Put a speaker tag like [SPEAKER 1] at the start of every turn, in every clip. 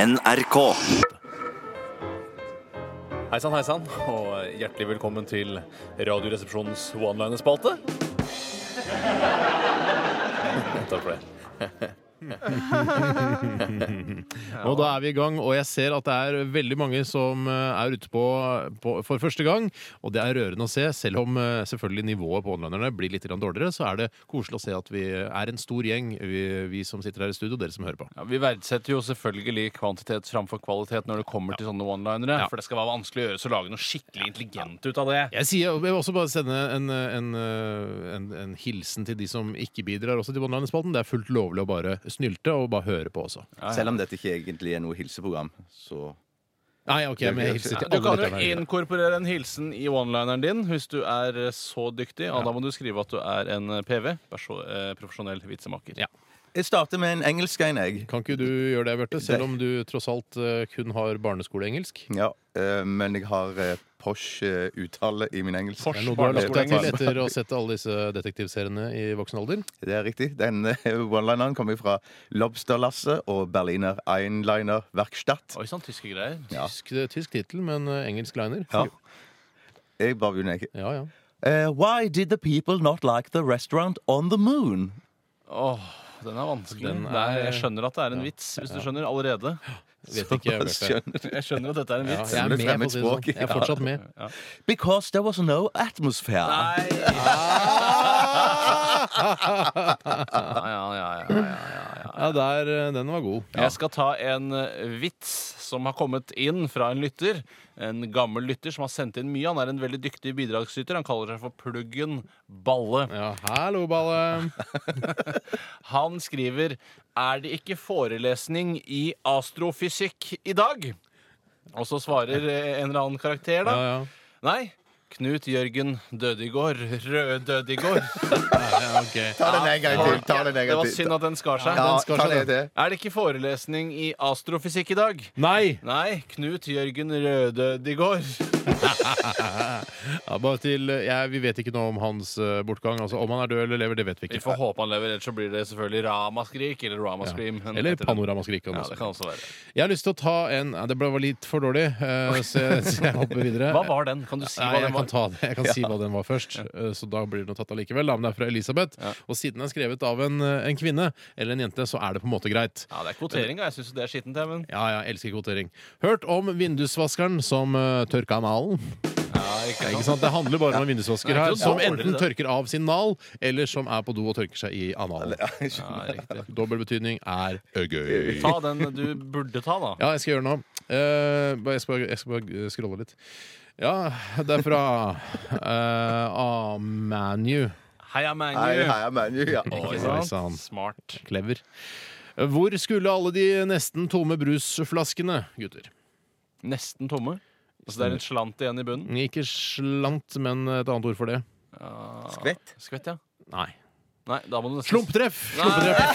[SPEAKER 1] NRK.
[SPEAKER 2] Hei sann, hei sann, og hjertelig velkommen til Radioresepsjonens one-liner-spalte. Takk for det.
[SPEAKER 3] Og da er vi i gang, og jeg ser at det er veldig mange som eh, er ute på, på for første gang. Og det er rørende å se. Selv om eh, selvfølgelig nivået på onlinerne blir litt grann dårligere, så er det koselig å se at vi er en stor gjeng, vi, vi som sitter her i studio, og dere som hører på.
[SPEAKER 4] Ja, vi verdsetter jo selvfølgelig kvantitet framfor kvalitet når det kommer til sånne one-linere. For det skal være vanskelig å gjøre, så lage noe skikkelig intelligent ut av det.
[SPEAKER 3] Jeg, sier, jeg vil også bare sende en, en, eh, en, en hilsen til de som ikke bidrar også til online-spalten. Det er fullt lovlig å bare snylte og bare høre på også.
[SPEAKER 5] Selv om dette ikke egentlig er noe hilseprogram, så
[SPEAKER 3] Nei, ok, men jeg hilser til
[SPEAKER 4] Du
[SPEAKER 3] alle
[SPEAKER 4] kan jo
[SPEAKER 3] lytterne.
[SPEAKER 4] inkorporere en hilsen i one-lineren din hvis du er eh, så dyktig. Og da må du skrive at du er en eh, PV, perso eh, profesjonell vitsemaker.
[SPEAKER 3] Ja.
[SPEAKER 5] Jeg starter med en engelsk en, jeg.
[SPEAKER 3] Kan ikke du gjøre det, Bjarte? Selv om du tross alt eh, kun har barneskoleengelsk.
[SPEAKER 5] Ja, eh, men jeg har eh, Porsche-uttale i min engelsk.
[SPEAKER 3] Det er noe du har lagt deg til etter å ha sett alle disse detektivseriene i voksen alder.
[SPEAKER 5] Det er riktig. Den eh, one-lineren kommer fra Lobsterlasset og Berliner Einliner Verkstadt.
[SPEAKER 4] Oi sann, tyske greier.
[SPEAKER 5] Ja.
[SPEAKER 3] Tysk, tysk tittel, men eh, engelsk liner.
[SPEAKER 5] Ja. Jeg bare begynner, jeg.
[SPEAKER 3] ja. ja.
[SPEAKER 5] Eh, why did the people not like the restaurant on the moon?
[SPEAKER 4] Åh, den er vanskelig.
[SPEAKER 3] Den er-
[SPEAKER 4] Det er- jeg skjønner at det er en vits, hvis du skjønner allerede.
[SPEAKER 3] Vet ikke,
[SPEAKER 5] Bare
[SPEAKER 3] Bjarte.
[SPEAKER 5] skjønn.
[SPEAKER 4] Jeg skjønner at dette er en
[SPEAKER 3] Ja,
[SPEAKER 4] vits.
[SPEAKER 3] jeg er med, for å
[SPEAKER 5] Fremmed
[SPEAKER 3] si det sånn.
[SPEAKER 5] språk.
[SPEAKER 3] Jeg er fortsatt med.
[SPEAKER 5] Because there was no atmosphere.
[SPEAKER 4] Nei! Ja, ja, ja, ja, ja, ja.
[SPEAKER 3] Ja, der, eh, den var god.
[SPEAKER 4] Jeg skal ta en eh, vits som har kommet inn fra en lytter. En gammel lytter som har sendt inn mye. Han er en veldig dyktig bidragsyter. Han kaller seg for Pluggen Balle.
[SPEAKER 3] Ja, hallo, Balle.
[SPEAKER 4] Han skriver Er det ikke forelesning i astrofysikk i dag? Og så svarer eh, en eller annen karakter, da.
[SPEAKER 3] Ja, ja.
[SPEAKER 4] Nei. Knut Jørgen Dødigård. Rød Dødigård.
[SPEAKER 3] Ja, ok.
[SPEAKER 5] Ta den en gang til. Ta den en
[SPEAKER 4] Det
[SPEAKER 5] gang
[SPEAKER 4] var
[SPEAKER 5] til.
[SPEAKER 4] synd at den skar seg.
[SPEAKER 5] Ja,
[SPEAKER 3] den skal
[SPEAKER 5] ta
[SPEAKER 3] skje,
[SPEAKER 5] det.
[SPEAKER 4] Er det ikke forelesning i astrofysikk i dag?
[SPEAKER 3] Nei!
[SPEAKER 4] Nei, Knut Jørgen Rødødigård.
[SPEAKER 3] Ja, bare til, eh, jeg- vi vet ikke noe om hans eh, bortgang. Altså, Om han er død eller lever, det vet vi
[SPEAKER 4] Vi
[SPEAKER 3] ikke.
[SPEAKER 4] får håpe han lever, ellers så blir det selvfølgelig ramaskrik eller ramaskrim. men
[SPEAKER 3] Eller
[SPEAKER 4] etter det-
[SPEAKER 3] Panoramaskrik.
[SPEAKER 4] Ja,
[SPEAKER 3] Ja,
[SPEAKER 4] det kan også være.
[SPEAKER 3] jeg har lyst til å ta en ja, Det ble- var litt for dårlig, eh, så, jeg, så jeg hopper videre.
[SPEAKER 4] Hva var den? Kan du si hva
[SPEAKER 3] Nei, jeg
[SPEAKER 4] den var?
[SPEAKER 3] kan, ta det. jeg kan si hva den var først, eh, så da blir den jo tatt allikevel. da, Men det er fra Elisabeth. Og siden den er skrevet av en, eh, en kvinne eller en jente, så er det på en måte greit.
[SPEAKER 4] Ja, det er kvotering, da. Jeg syns det er skittent, jeg, men
[SPEAKER 3] Ja, ja, elsker kvotering. Hørt om vindusvaskeren som uh, tørka nalen?
[SPEAKER 4] ja, ikke
[SPEAKER 3] Ikke
[SPEAKER 4] sant.
[SPEAKER 3] sant? Det handler bare om en vindusvasker
[SPEAKER 4] Nei,
[SPEAKER 3] her
[SPEAKER 4] det er
[SPEAKER 3] som
[SPEAKER 4] dårlig,
[SPEAKER 3] enten
[SPEAKER 4] det.
[SPEAKER 3] tørker av sin nal, eller som er på do og tørker seg i analen.
[SPEAKER 4] Ja, riktig.
[SPEAKER 3] Dobbel betydning er gøy.
[SPEAKER 4] Ta den du burde ta, da.
[SPEAKER 3] Ja, jeg skal gjøre det nå. Eh, bare- jeg, skal, bare- jeg skal bare scrolle litt. Ja, det er fra uh, A-Manu.
[SPEAKER 4] Heia Manu.
[SPEAKER 5] Hei, hei, Manu. Ja.
[SPEAKER 4] Oi,
[SPEAKER 3] Oi,
[SPEAKER 4] sant?
[SPEAKER 3] sann.
[SPEAKER 4] Smart.
[SPEAKER 3] Clever. Hvor skulle alle de nesten tomme brusflaskene, gutter?
[SPEAKER 4] Nesten tomme. Altså det er en slant igjen i bunnen.
[SPEAKER 3] Ikke slant, men et annet ord for det.
[SPEAKER 4] Ja.
[SPEAKER 5] Skvett?
[SPEAKER 4] Skvett, ja.
[SPEAKER 3] Nei.
[SPEAKER 4] Nei, da må du nesten
[SPEAKER 3] Slumptreff! Slumpetreff.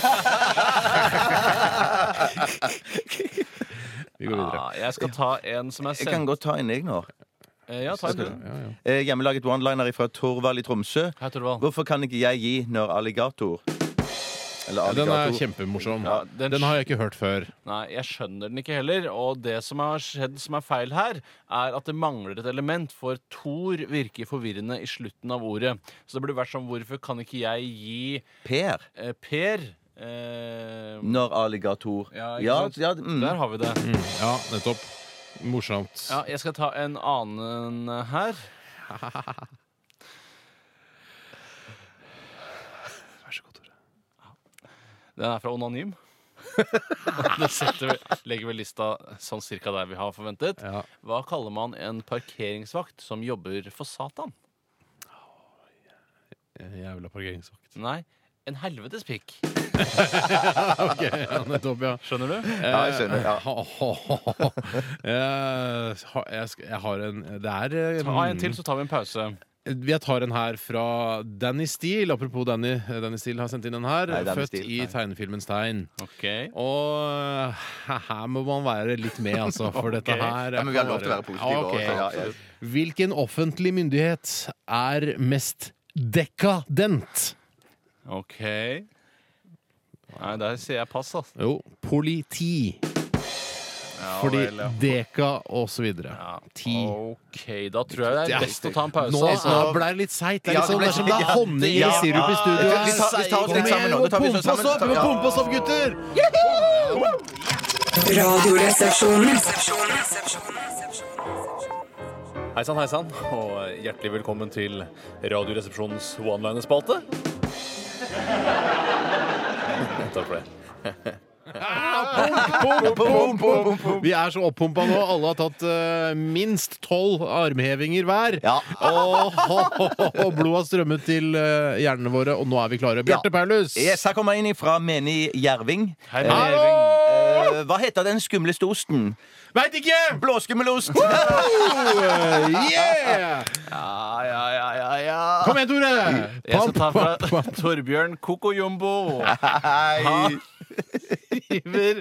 [SPEAKER 3] Vi går videre.
[SPEAKER 4] Ja, jeg skal ta en som er
[SPEAKER 5] Jeg kan
[SPEAKER 4] sendt.
[SPEAKER 5] godt ta en, jeg, nå.
[SPEAKER 4] Eh, Ja, ta en du.
[SPEAKER 3] Ja, ja.
[SPEAKER 5] Eh, Hjemmelaget one-liner fra Torvald i Tromsø.
[SPEAKER 4] Hei, Torvald.
[SPEAKER 5] Hvorfor kan ikke jeg gi når alligator Eller
[SPEAKER 3] Ja, Den er
[SPEAKER 5] alligator
[SPEAKER 3] kjempemorsom.
[SPEAKER 4] Ja, den-
[SPEAKER 3] den, har jeg ikke hørt før.
[SPEAKER 4] Nei, jeg skjønner den ikke heller. Og det som har skjedd som er feil her, er at det mangler et element, for Thor virker forvirrende i slutten av ordet. Så det burde vært som hvorfor kan ikke jeg gi
[SPEAKER 5] Per
[SPEAKER 4] eh, Per eh,
[SPEAKER 5] når alligator
[SPEAKER 4] Ja, ikke
[SPEAKER 5] ja,
[SPEAKER 4] sant?
[SPEAKER 5] ja, mm.
[SPEAKER 4] Der har vi det.
[SPEAKER 3] Ja, nettopp. Morsomt.
[SPEAKER 4] Ja, jeg skal ta en annen eh, her. Vær så god, Tore. Den er fra Onanym. Det setter, vel- legger vel lista sånn cirka der vi har forventet.
[SPEAKER 3] Ja.
[SPEAKER 4] Hva kaller man en parkeringsvakt som jobber for Satan?
[SPEAKER 3] Jævla parkeringsvakt.
[SPEAKER 4] Nei, en helvetes pikk.
[SPEAKER 3] Ok, ja, nettopp, ja.
[SPEAKER 4] Skjønner du?
[SPEAKER 5] ja, jeg skjønner. Ja.
[SPEAKER 3] Eh, ha- jeg, skal, jeg har en Det er eh,
[SPEAKER 4] Ta en til, så tar vi en pause.
[SPEAKER 3] Jeg tar en her fra Danny Steele. Apropos Danny. Eh, Danny Steele har sendt inn en her.
[SPEAKER 5] Nei, Danny
[SPEAKER 3] Født
[SPEAKER 5] Steele,
[SPEAKER 3] i
[SPEAKER 5] nei.
[SPEAKER 3] tegnefilmens tegn.
[SPEAKER 4] Ok
[SPEAKER 3] Og eh, her må man være litt med, altså, for dette her
[SPEAKER 5] Ja, men vi har lov til å være positive.
[SPEAKER 3] Ja, Ah, ok.
[SPEAKER 5] også, ja, ja.
[SPEAKER 3] Hvilken offentlig myndighet er mest dekadent?
[SPEAKER 4] Ok Nei, der sier jeg pass, altså.
[SPEAKER 3] Jo, politi. Fordi
[SPEAKER 5] vel, ja.
[SPEAKER 3] deka og så videre. Ti.
[SPEAKER 4] OK, da tror jeg det
[SPEAKER 3] Ja.
[SPEAKER 4] er best å ta en pause.
[SPEAKER 3] Nå,
[SPEAKER 4] altså.
[SPEAKER 3] nå ble det litt seigt. Det er
[SPEAKER 5] Ja,
[SPEAKER 3] litt sånn
[SPEAKER 5] det ble-
[SPEAKER 3] det er som det er
[SPEAKER 5] ja,
[SPEAKER 3] honning i
[SPEAKER 5] ja.
[SPEAKER 3] sirup i studio.
[SPEAKER 5] Ja, vi tar- vi tar
[SPEAKER 3] Kom
[SPEAKER 5] oss litt
[SPEAKER 3] igjen,
[SPEAKER 5] sammen nå.
[SPEAKER 3] vi må
[SPEAKER 5] Det tar
[SPEAKER 3] pumpe
[SPEAKER 5] vi sammen.
[SPEAKER 3] oss opp, vi må
[SPEAKER 5] Ja.
[SPEAKER 3] pumpe oss opp, gutter!
[SPEAKER 1] Radioresepsjonen.
[SPEAKER 2] Hei sann, hei sann, og hjertelig velkommen til Radioresepsjonens one-liner-spalte. Takk for det.
[SPEAKER 3] Pump, pump, pump, pump. Vi er så oppumpa nå. Alle har tatt eh, minst tolv armhevinger hver.
[SPEAKER 5] Ja.
[SPEAKER 3] Og, og blodet har strømmet til eh, hjernene våre, og nå er vi klare. Bjarte
[SPEAKER 5] Ja.
[SPEAKER 3] Paulus!
[SPEAKER 5] Yes, her kommer jeg inn fra menig Jerving.
[SPEAKER 4] Hei,
[SPEAKER 3] Hallo!
[SPEAKER 4] Eving.
[SPEAKER 5] Eh, hva heter den skumleste osten?
[SPEAKER 3] Veit ikke!
[SPEAKER 5] Blåskimmelost!
[SPEAKER 3] Yeah!
[SPEAKER 4] Ja, ja, ja, ja, ja.
[SPEAKER 3] Kom igjen, Tore!
[SPEAKER 4] Jeg skal
[SPEAKER 3] Pump,
[SPEAKER 4] ta
[SPEAKER 3] pump,
[SPEAKER 4] fra
[SPEAKER 3] pump.
[SPEAKER 4] Torbjørn Koko Jumbo.
[SPEAKER 5] Hei.
[SPEAKER 4] skriver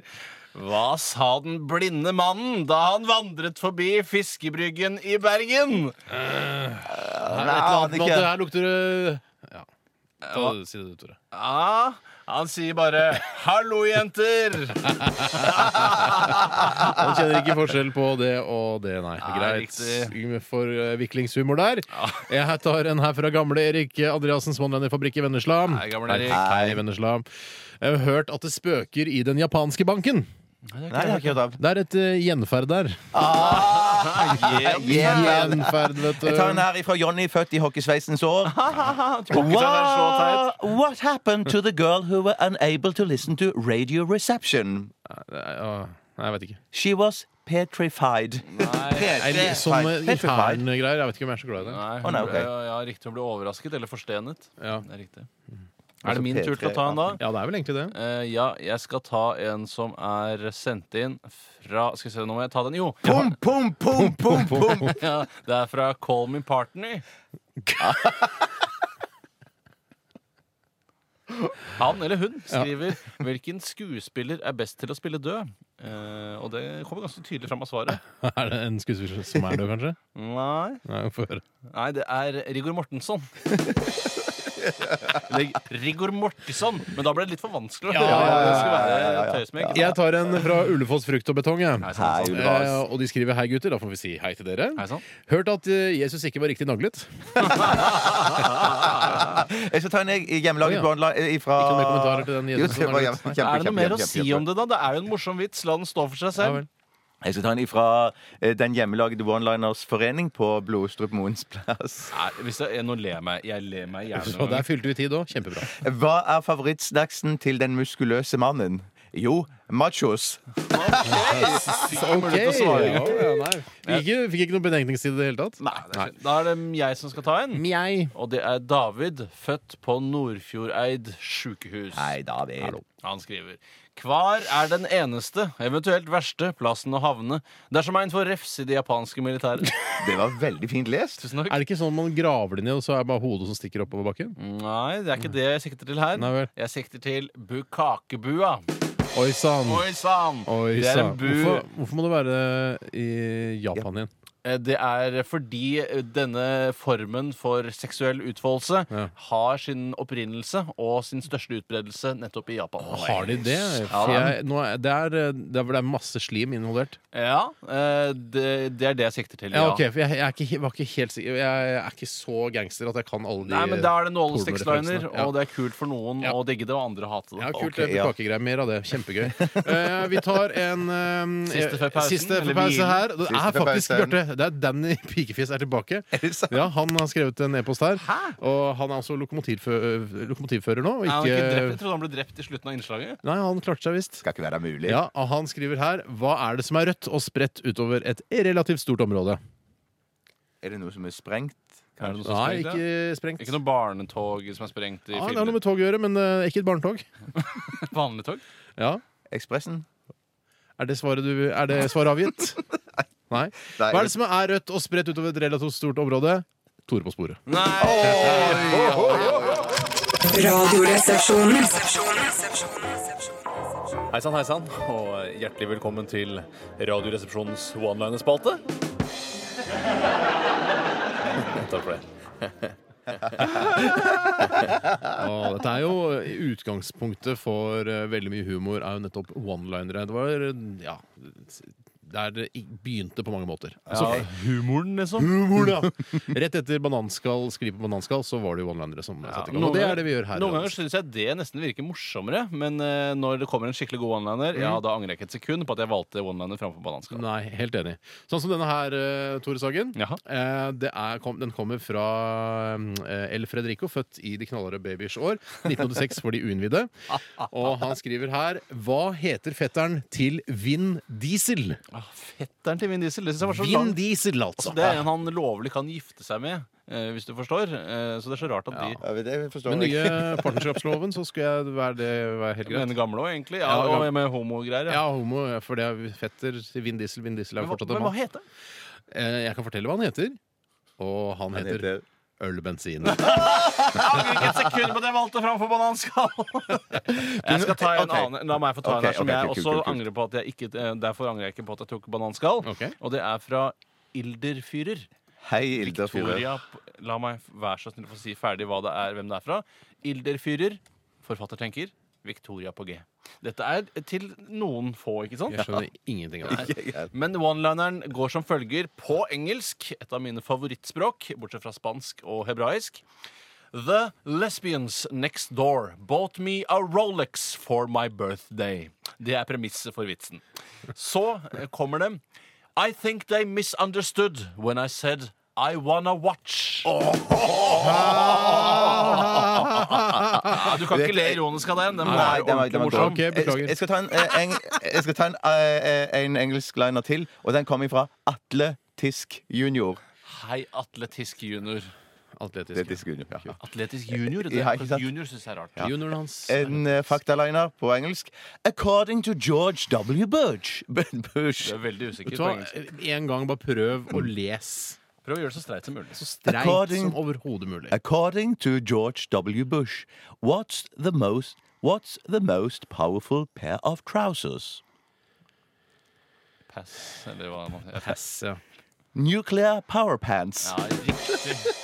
[SPEAKER 4] Hva sa den blinde mannen da han vandret forbi fiskebryggen i Bergen?
[SPEAKER 3] Her,
[SPEAKER 5] Nei,
[SPEAKER 3] et eller annet med at
[SPEAKER 5] ikke.
[SPEAKER 3] det her lukter det- Ja. Ta, si det, du, Tore.
[SPEAKER 4] Ja, han sier bare 'hallo, jenter'.
[SPEAKER 3] Han kjenner ikke forskjell på det og det, nei. Greit.
[SPEAKER 4] riktig.
[SPEAKER 3] Forviklingshumor der. Jeg tar en her fra gamle Erik Andreassens Monlanderfabrikk i Vennesla.
[SPEAKER 4] Hei, gamle Erik.
[SPEAKER 3] Hei, Vennesla. Jeg har hørt at det spøker i den japanske banken.
[SPEAKER 5] Nei, det har jeg ikke hørt av.
[SPEAKER 3] Det er et eh, gjenferd der.
[SPEAKER 5] Yeah.
[SPEAKER 3] Gjenferd, vet
[SPEAKER 5] Ah, Jeg tar en
[SPEAKER 3] du.
[SPEAKER 5] her ifra Johnny, født i hockeysveisens år.
[SPEAKER 4] Wow.
[SPEAKER 5] What, what happened to the girl who were unable to listen to radio reception?
[SPEAKER 3] Ja, Nei, jeg vet ikke.
[SPEAKER 5] She was petrified.
[SPEAKER 3] Jeg,
[SPEAKER 5] Petrified.
[SPEAKER 3] sånn eh, i
[SPEAKER 5] Petrified.
[SPEAKER 3] hæren-greier. Jeg vet ikke om jeg er så glad i det.
[SPEAKER 4] Nei,
[SPEAKER 5] Å,
[SPEAKER 4] hun
[SPEAKER 5] nei,
[SPEAKER 4] ble,
[SPEAKER 5] ok.
[SPEAKER 4] ja, riktig, hun ble overrasket eller forstenet.
[SPEAKER 3] Ja.
[SPEAKER 4] Det er riktig. Er det min
[SPEAKER 5] Mm. Altså, P3,
[SPEAKER 4] tur til å ta en da?
[SPEAKER 3] ja, det er vel egentlig det.
[SPEAKER 4] Eh, ja, jeg skal ta en som er sendt inn fra Skal vi se, nå må jeg ta den. Jo!
[SPEAKER 5] Pum, pum, pum, pum, pum.
[SPEAKER 4] Ja, det er fra Call Me Partner. Han eller hun skriver hvilken skuespiller er best til å spille død. Eh, og det kommer ganske tydelig fram av svaret.
[SPEAKER 3] Er det en skuespiller som er død, kanskje?
[SPEAKER 4] Nei,
[SPEAKER 3] Nei, vi får høre.
[SPEAKER 4] Nei det er Rigor Mortensson. Eller Rigor Mortison! Men da ble det litt for vanskelig.
[SPEAKER 3] Ja, ja, ja,
[SPEAKER 4] det skulle være tøys med. ikke sant?
[SPEAKER 3] Jeg tar en fra Ulefoss frukt og betong. jeg.
[SPEAKER 4] Nei,
[SPEAKER 5] Hei,
[SPEAKER 4] sant, sant.
[SPEAKER 3] Eh,
[SPEAKER 5] Lars.
[SPEAKER 3] og de skriver 'hei, gutter'. Da får vi si hei til dere.
[SPEAKER 4] Hei sann.
[SPEAKER 3] Hørt at eh, Jesus ikke var riktig naglet.
[SPEAKER 5] Jeg skal ta en jeg, i
[SPEAKER 3] Å,
[SPEAKER 5] hjemmelaget
[SPEAKER 3] ja.
[SPEAKER 5] Bondla ifra
[SPEAKER 3] Ikke noen kommentarer til den
[SPEAKER 5] Jo,
[SPEAKER 3] Jesus
[SPEAKER 5] det var
[SPEAKER 3] som er
[SPEAKER 5] jævlig-
[SPEAKER 3] litt-
[SPEAKER 5] kjempe,
[SPEAKER 4] Er Ah. det noe
[SPEAKER 5] kjempe,
[SPEAKER 4] mer å
[SPEAKER 5] kjempe,
[SPEAKER 4] si
[SPEAKER 5] kjempe.
[SPEAKER 4] om det, da? Det er jo en morsom vits. La den stå for seg
[SPEAKER 3] Ja,
[SPEAKER 4] selv.
[SPEAKER 3] vel.
[SPEAKER 5] Jeg skal ta en ifra eh, Den hjemmelagde one-liners forening på Blodstrup Moens plass.
[SPEAKER 4] Nei, hvis det er, nå ler jeg meg. Jeg ler meg i
[SPEAKER 3] Så
[SPEAKER 4] hjernen.
[SPEAKER 3] der fylte vi tid òg. Kjempebra.
[SPEAKER 5] Hva er favorittsnacksen til den muskuløse mannen? Jo, machos.
[SPEAKER 3] Ok, ja, ja, nei. Fikk ikke, fikk ikke noen betenkningstid i det hele tatt?
[SPEAKER 4] Nei. Da er det jeg som skal ta en.
[SPEAKER 3] Mjau.
[SPEAKER 4] Og det er David, født på Nordfjordeid sjukehus.
[SPEAKER 5] Nei, David.
[SPEAKER 4] Han skriver Hvar er den eneste, eventuelt verste, plassen å havne dersom en får refs i det japanske militæret?
[SPEAKER 5] Det var veldig fint lest.
[SPEAKER 4] Tusen
[SPEAKER 3] Er
[SPEAKER 4] takk.
[SPEAKER 3] det ikke sånn man graver det ned, og så er det bare hodet som stikker oppover bakken?
[SPEAKER 4] Mm. Nei, det er ikke det jeg sikter til her.
[SPEAKER 3] Nei vel.
[SPEAKER 4] Jeg sikter til bukakebua.
[SPEAKER 3] Oi sann.
[SPEAKER 4] Oi sann!
[SPEAKER 3] Oi
[SPEAKER 4] Det er
[SPEAKER 3] sann.
[SPEAKER 4] en bu.
[SPEAKER 3] Hvorfor, hvorfor må det være i Japan igjen?
[SPEAKER 4] Eh, Det er fordi eh, denne formen for seksuell utfoldelse
[SPEAKER 3] Ja.
[SPEAKER 4] har sin opprinnelse og sin største utbredelse nettopp i Japan.
[SPEAKER 3] Har de det?
[SPEAKER 4] Ja,
[SPEAKER 3] For jeg, nå er, det, er, eh, det er hvor det er masse slim involvert.
[SPEAKER 4] Ja, eh, det, det er det jeg sikter til.
[SPEAKER 3] Ja, ok, for jeg, jeg, er ikke, he- var ikke helt sikker Jeg er ikke så gangster at jeg kan alle de
[SPEAKER 4] Nei, men Da er det nålestikksliner,
[SPEAKER 3] pornoreferansene. Ja.
[SPEAKER 4] og det er kult for noen
[SPEAKER 3] Ja.
[SPEAKER 4] å digge det, og andre hate det.
[SPEAKER 3] Ja, kult.
[SPEAKER 5] Ok,
[SPEAKER 3] det blir
[SPEAKER 5] ja.
[SPEAKER 3] kakegreier. Mer av det. Kjempegøy. Eh, vi tar en eh,
[SPEAKER 4] Siste før pausen,
[SPEAKER 3] siste før
[SPEAKER 4] eller
[SPEAKER 3] pause
[SPEAKER 4] hvilen.
[SPEAKER 3] her. Det
[SPEAKER 5] Siste
[SPEAKER 3] er
[SPEAKER 5] før
[SPEAKER 3] faktisk
[SPEAKER 5] pausen.
[SPEAKER 3] Bjarte. Det er Danny Pikefjes er tilbake.
[SPEAKER 5] Er det sant?
[SPEAKER 3] Ja, Han har skrevet en e-post her. Og han er også lokomotivfø- lokomotivfører nå. Og
[SPEAKER 4] Er han ikke drept?
[SPEAKER 3] ikke,
[SPEAKER 4] Jeg trodde han ble drept i slutten av innslaget.
[SPEAKER 3] nei, han klarte seg visst.
[SPEAKER 5] Skal ikke være mulig.
[SPEAKER 3] Ja, og Han skriver her Hva er det som er rødt og spredt utover et relativt stort område?
[SPEAKER 5] Er det noe som er sprengt?
[SPEAKER 4] Er det noe som
[SPEAKER 3] Nei,
[SPEAKER 4] sprengt, ja?
[SPEAKER 3] ikke sprengt.
[SPEAKER 4] Ikke noe barnetog som er sprengt i
[SPEAKER 3] Ja, Ah, det har
[SPEAKER 4] filmer?
[SPEAKER 3] noe med tog å gjøre, men eh, ikke et barnetog.
[SPEAKER 4] Vanlig tog?
[SPEAKER 3] Ja.
[SPEAKER 5] Ekspressen?
[SPEAKER 3] Er det svaret, du, er det svaret avgitt? Nei.
[SPEAKER 5] Nei.
[SPEAKER 3] Hva er det som er rødt og spredt utover et relativt stort område? Tore på sporet.
[SPEAKER 4] Nei!
[SPEAKER 1] Radioresepsjonen.
[SPEAKER 2] Hei sann, hei sann, og hjertelig velkommen til Radioresepsjonens one-liner-spalte. Takk for det.
[SPEAKER 3] Ja, dette er jo utgangspunktet for eh, veldig mye humor, er jo nettopp one-linere. Det var eh, ja, der det i- begynte på mange måter.
[SPEAKER 4] Så
[SPEAKER 3] Altså,
[SPEAKER 4] humoren, liksom.
[SPEAKER 3] humor, da! Rett etter bananskall, skrive på bananskall, så var det jo one-linere som satte i gang.
[SPEAKER 4] noen
[SPEAKER 3] Og det
[SPEAKER 4] ganger-
[SPEAKER 3] er det vi gjør her.
[SPEAKER 4] Noen ganger
[SPEAKER 3] Anders.
[SPEAKER 4] syns jeg det nesten virker morsommere, men eh, når det kommer en skikkelig god one-liner, ja, da angrer jeg ikke et sekund på at jeg valgte one-liner framfor bananskall.
[SPEAKER 3] Nei, helt enig. Sånn som denne her, eh, Tore Sagen.
[SPEAKER 4] Jaha.
[SPEAKER 3] Eh, Det er, kom, den kommer fra mm, eh, El Fredrico, født i de knallharde babyers år. 1986 for de uinnvidde. Og han skriver her Hva heter fetteren til Vin Diesel?
[SPEAKER 4] Ah, fetteren til Vin Diesel, det syns jeg var så
[SPEAKER 3] Vin
[SPEAKER 4] langt.
[SPEAKER 3] Diesel, altså.
[SPEAKER 4] Altså, det er en han lovlig kan gifte seg med, eh, hvis du forstår. Eh, så det er så rart at de
[SPEAKER 5] Ja, det forstår
[SPEAKER 3] Med
[SPEAKER 5] jeg.
[SPEAKER 3] nye partnerskapsloven så skal jeg være det være helt greit.
[SPEAKER 4] Den gamle òg, egentlig. Ja,
[SPEAKER 3] Ja,
[SPEAKER 4] og
[SPEAKER 3] gam-
[SPEAKER 4] med homogreier.
[SPEAKER 3] Ja, homo, for det er fetter til Vin Diesel. Vin Diesel er
[SPEAKER 4] Men,
[SPEAKER 3] jo
[SPEAKER 4] hva,
[SPEAKER 3] fortsatt en
[SPEAKER 4] men hva
[SPEAKER 3] mann.
[SPEAKER 4] heter han?
[SPEAKER 3] Eh, Jeg kan fortelle hva han heter. Og han
[SPEAKER 5] Han
[SPEAKER 3] heter
[SPEAKER 5] heter-
[SPEAKER 3] Ølbensin.
[SPEAKER 4] Jeg angrer ikke et sekund på at jeg valgte framfor bananskall! Jeg skal ta en
[SPEAKER 5] Ok.
[SPEAKER 4] annen La meg få ta en
[SPEAKER 5] Ok,
[SPEAKER 4] her som
[SPEAKER 5] ok,
[SPEAKER 4] jeg
[SPEAKER 5] kult,
[SPEAKER 4] også
[SPEAKER 5] kult, kult.
[SPEAKER 4] angrer på at jeg ikke eh, Derfor angrer jeg ikke på at jeg tok bananskall.
[SPEAKER 3] Ok.
[SPEAKER 4] Og det er fra Ilderfyrer.
[SPEAKER 5] Hei, Ilda Fyre.
[SPEAKER 4] Victoria P- La meg f- være så snill å få si ferdig hva det er, hvem det er fra. Ilderfyrer, forfatter tenker, Victoria på G. Dette er til noen få, ikke sant?
[SPEAKER 3] Jeg skjønner ingenting av det.
[SPEAKER 4] Men one-lineren går som følger på engelsk, et av mine favorittspråk, bortsett fra spansk og hebraisk. The lesbians next door bought me a Rolex for my birthday. Det er premisset for vitsen. Så eh, kommer det I think they misunderstood when I said I wanna watch.
[SPEAKER 5] Ah!
[SPEAKER 4] Ja, du kan ikke le ironisk av den. Den var
[SPEAKER 5] Nei,
[SPEAKER 4] jo
[SPEAKER 5] den var-
[SPEAKER 4] ordentlig
[SPEAKER 5] den var
[SPEAKER 4] morsom.
[SPEAKER 5] dårlig.
[SPEAKER 3] Ok, beklager.
[SPEAKER 5] Jeg, jeg skal ta en, eh, eng, jeg skal ta en, eh, eh, en engelsk liner til, og den kommer fra Atle Tisk junior.
[SPEAKER 4] Hei, atletisk junior.
[SPEAKER 5] Det er
[SPEAKER 3] Atletisk.
[SPEAKER 5] Tisk junior, ja.
[SPEAKER 4] Atletisk junior? Det,
[SPEAKER 5] Ja, ikke sant?
[SPEAKER 4] junior syns jeg er rart.
[SPEAKER 3] Junioren hans
[SPEAKER 5] En eh, faktaliner på engelsk. According to George W. Bush Bush
[SPEAKER 4] Du er veldig usikker
[SPEAKER 3] Vet du
[SPEAKER 4] på
[SPEAKER 3] hva?
[SPEAKER 4] engelsk.
[SPEAKER 3] eh, En gang bare prøv å lese
[SPEAKER 4] Prøv å gjøre det så streit som mulig.
[SPEAKER 3] så streit
[SPEAKER 5] According-
[SPEAKER 3] som overhodet mulig.
[SPEAKER 5] According to George W. Bush, what's the most What's the most powerful pair of trousers?
[SPEAKER 4] Pass, eller hva man ja,
[SPEAKER 3] Pass, ja.
[SPEAKER 5] Nuclear power pants.
[SPEAKER 4] riktig.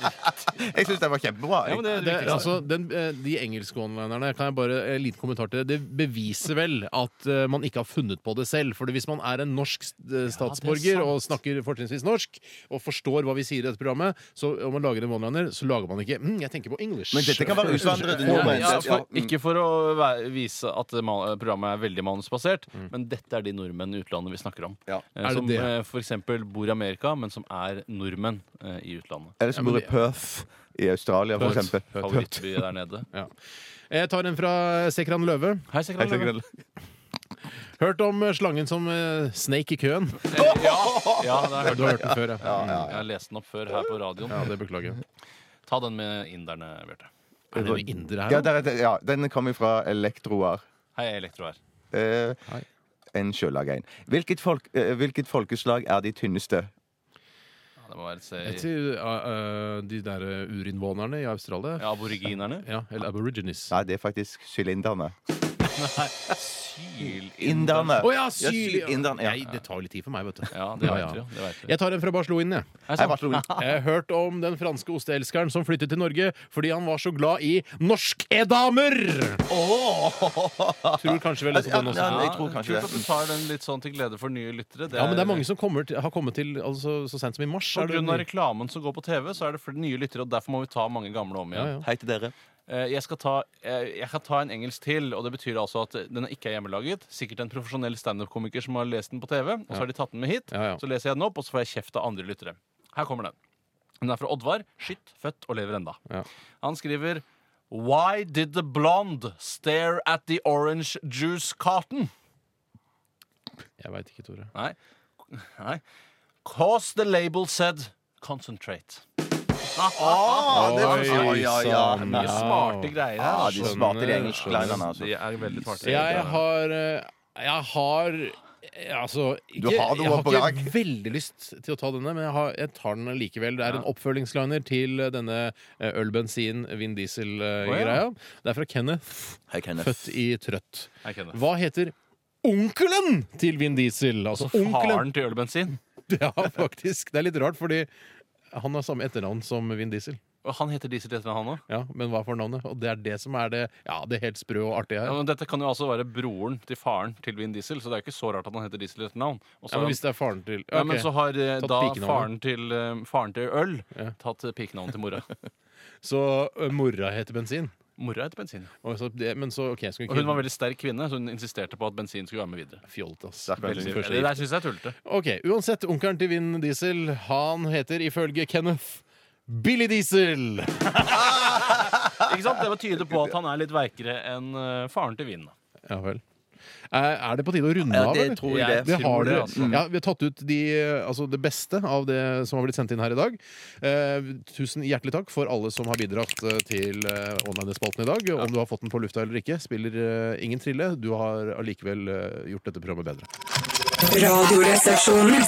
[SPEAKER 5] Jeg syns den var kjempebra.
[SPEAKER 4] Ja, men det er
[SPEAKER 3] Det,
[SPEAKER 4] riktig.
[SPEAKER 3] altså, den, eh, de engelske onlinerne kan jeg bare en liten kommentar til det. Det beviser vel at eh, man ikke har funnet på det selv. For hvis man er en norsk eh, statsborger
[SPEAKER 4] sant.
[SPEAKER 3] og snakker fortrinnsvis norsk, og forstår hva vi sier i dette programmet, så om man lager en onliner, så lager man ikke mm, 'jeg tenker på English'. Eh,
[SPEAKER 5] Men dette kan være utvandrede nordmenn.
[SPEAKER 4] ja, for,
[SPEAKER 5] Ja, mm.
[SPEAKER 4] ikke for å væ- vise at det ma- programmet er veldig manusbasert, men dette er de nordmenn i utlandet vi snakker om.
[SPEAKER 5] Ja.
[SPEAKER 4] Eh,
[SPEAKER 3] Er det
[SPEAKER 4] Som
[SPEAKER 3] det?
[SPEAKER 4] eh, for eksempel bor i Amerika, men som er nordmenn eh, i utlandet.
[SPEAKER 5] Eller som
[SPEAKER 3] Ja,
[SPEAKER 5] bor
[SPEAKER 3] men
[SPEAKER 5] i Perth i Australia, for
[SPEAKER 3] Perth.
[SPEAKER 5] eksempel.
[SPEAKER 4] Favorittby der nede.
[SPEAKER 3] Ja. Jeg tar en fra eh, Sekran Løve.
[SPEAKER 4] Hei, Sekran
[SPEAKER 5] Jeg tenker
[SPEAKER 4] Løve.
[SPEAKER 5] det-
[SPEAKER 3] Hørt om eh, slangen som eh, sneik i køen?
[SPEAKER 4] Ja, ja, det har jeg
[SPEAKER 3] Du
[SPEAKER 4] hørt.
[SPEAKER 3] har hørt den før, ja.
[SPEAKER 4] Jeg har lest den opp før her på radioen.
[SPEAKER 3] Ja, det beklager jeg.
[SPEAKER 4] Ta den med inderne, Bjarte.
[SPEAKER 3] Er det noen indere her?
[SPEAKER 5] Ja,
[SPEAKER 3] da?
[SPEAKER 5] der, er det- ja, den kommer fra Elektroar.
[SPEAKER 4] Hei, jeg er Elektro her.
[SPEAKER 5] Eh,
[SPEAKER 3] Hei.
[SPEAKER 5] en sjølag en. Hvilket, folk, eh, hvilket folkeslag er de tynneste?
[SPEAKER 4] Ja, det må være et
[SPEAKER 3] Jeg
[SPEAKER 4] se-
[SPEAKER 3] tror, eh, eh, de der eh, urinnvånerne i Australia.
[SPEAKER 4] ja, Aboriginerne.
[SPEAKER 3] Ja, eller aborigines.
[SPEAKER 5] Nei, det er faktisk sylinderne.
[SPEAKER 4] Sylinderne.
[SPEAKER 5] Inderne.
[SPEAKER 3] Å ja,
[SPEAKER 5] Ja,
[SPEAKER 3] Syria!
[SPEAKER 5] sylinderne, ja.
[SPEAKER 3] Nei, det tar jo litt tid for meg, vet du.
[SPEAKER 4] Ja, det
[SPEAKER 3] Ja,
[SPEAKER 4] vet
[SPEAKER 3] ja.
[SPEAKER 4] vi jo. Det vet vi.
[SPEAKER 3] Jeg tar en fra Barcelona. jeg.
[SPEAKER 4] Hei,
[SPEAKER 5] Nei,
[SPEAKER 4] sant?
[SPEAKER 5] Barcelona.
[SPEAKER 3] Jeg har hørt om den franske osteelskeren som flyttet til Norge fordi han var så glad i norske-damer! Tror kanskje vi har lest om den også.
[SPEAKER 5] Ja, jeg tror kanskje
[SPEAKER 4] Kult at
[SPEAKER 5] det.
[SPEAKER 4] du tar den litt sånn til glede for nye lyttere.
[SPEAKER 3] Ja, men det er mange som kommer til, har kommet til altså, så sent som i mars.
[SPEAKER 4] På
[SPEAKER 3] er det-
[SPEAKER 4] grunn av reklamen som går på TV, så er det flere nye lyttere, og derfor må vi ta mange gamle om
[SPEAKER 3] ja,
[SPEAKER 4] igjen.
[SPEAKER 3] ja.
[SPEAKER 5] Hei til dere.
[SPEAKER 4] Eh, Jeg, skal ta, eh, jeg kan ta en engelsk til, og det betyr altså at den ikke er hjemmelaget. Sikkert en profesjonell standup-komiker som har lest den på TV, og så har de tatt den med hit.
[SPEAKER 3] Ja, ja.
[SPEAKER 4] Så leser jeg den opp, og så får jeg kjeft av andre lyttere. Her kommer den. Den er fra Oddvar. Skytt, født og lever enda.
[SPEAKER 3] Ja.
[SPEAKER 4] Han skriver Why did the blonde stare at the orange juice carton?
[SPEAKER 3] Jeg veit ikke, Tore.
[SPEAKER 4] Nei. Nei. Cause the label said concentrate.
[SPEAKER 5] Oi, ja, ja.
[SPEAKER 3] sann.
[SPEAKER 4] Mye smarte greier her.
[SPEAKER 5] Ja,
[SPEAKER 4] altså.
[SPEAKER 5] de smarte
[SPEAKER 3] sånn.
[SPEAKER 5] de
[SPEAKER 3] Skjønner,
[SPEAKER 5] engelske linerne, altså.
[SPEAKER 4] De er veldig smarte.
[SPEAKER 3] Jeg har eh, Jeg har eh, Altså ikke,
[SPEAKER 5] Du har noe
[SPEAKER 3] Jeg
[SPEAKER 5] på
[SPEAKER 3] har
[SPEAKER 5] gang.
[SPEAKER 3] ikke veldig lyst til å ta denne, men jeg, har, jeg tar den likevel. Det er en oppfølgingsliner til eh, denne eh, øl, bensin, Vin
[SPEAKER 4] Å,
[SPEAKER 3] Diesel-greia.
[SPEAKER 4] ja.
[SPEAKER 3] Det er fra Kenneth,
[SPEAKER 5] Hei, Kenneth.
[SPEAKER 3] født i Trøtt.
[SPEAKER 4] Jeg kjenner.
[SPEAKER 3] Hva heter onkelen til Vin Diesel? Altså onkelen
[SPEAKER 4] Faren til ølbensin.
[SPEAKER 3] Ja, faktisk. Det er litt rart, fordi han har samme etternavn som Vin Diesel.
[SPEAKER 4] Og han heter Diesel etter han òg.
[SPEAKER 3] Ja, Men hva for navnet? Og det er det som er det, ja, det helt sprø og artige
[SPEAKER 4] Ja,
[SPEAKER 3] her.
[SPEAKER 4] men dette kan jo altså være broren til faren til Vin Diesel, så det er jo ikke så rart at han heter Diesel etter navn. Og så har
[SPEAKER 3] Ja, men
[SPEAKER 4] han-
[SPEAKER 3] Hvis det er faren til
[SPEAKER 4] Ja, men
[SPEAKER 3] Ok.
[SPEAKER 4] så har eh,
[SPEAKER 3] Tatt
[SPEAKER 4] da
[SPEAKER 3] pikenavnet.
[SPEAKER 4] faren til, eh, faren til øl tatt eh, pikenavnet til mora.
[SPEAKER 3] Så ø, mora heter bensin.
[SPEAKER 4] mora heter bensin.
[SPEAKER 3] Og så, det, men så, ok, skal vi
[SPEAKER 4] Og hun var en veldig sterk kvinne, så hun insisterte på at bensin skulle være med videre.
[SPEAKER 3] fjolt, ass.
[SPEAKER 5] Veldig
[SPEAKER 3] Bensin
[SPEAKER 4] Det
[SPEAKER 3] først.
[SPEAKER 4] der syns jeg er tullete.
[SPEAKER 3] Ok, Uansett, onkelen til Vin Diesel, han heter ifølge Kenneth Billy Diesel!
[SPEAKER 4] Ikke sant? Det tyder på at han er litt veikere enn eh, faren til vinen.
[SPEAKER 3] Ja vel. Er er det på tide å runde
[SPEAKER 5] Ja,
[SPEAKER 3] av,
[SPEAKER 5] det
[SPEAKER 3] eller?
[SPEAKER 5] tror jeg
[SPEAKER 4] Jeg
[SPEAKER 5] det.
[SPEAKER 3] Det har
[SPEAKER 4] det,
[SPEAKER 3] dere.
[SPEAKER 4] altså.
[SPEAKER 3] Ja, vi har tatt ut de, altså det beste av det som har blitt sendt inn her i dag. Eh, tusen hjertelig takk for alle som har bidratt eh, til eh, online-spalten i dag. Om du har fått den på lufta eller ikke, spiller eh, ingen trille. Du har allikevel eh, gjort dette programmet bedre.
[SPEAKER 1] Radioresepsjonen.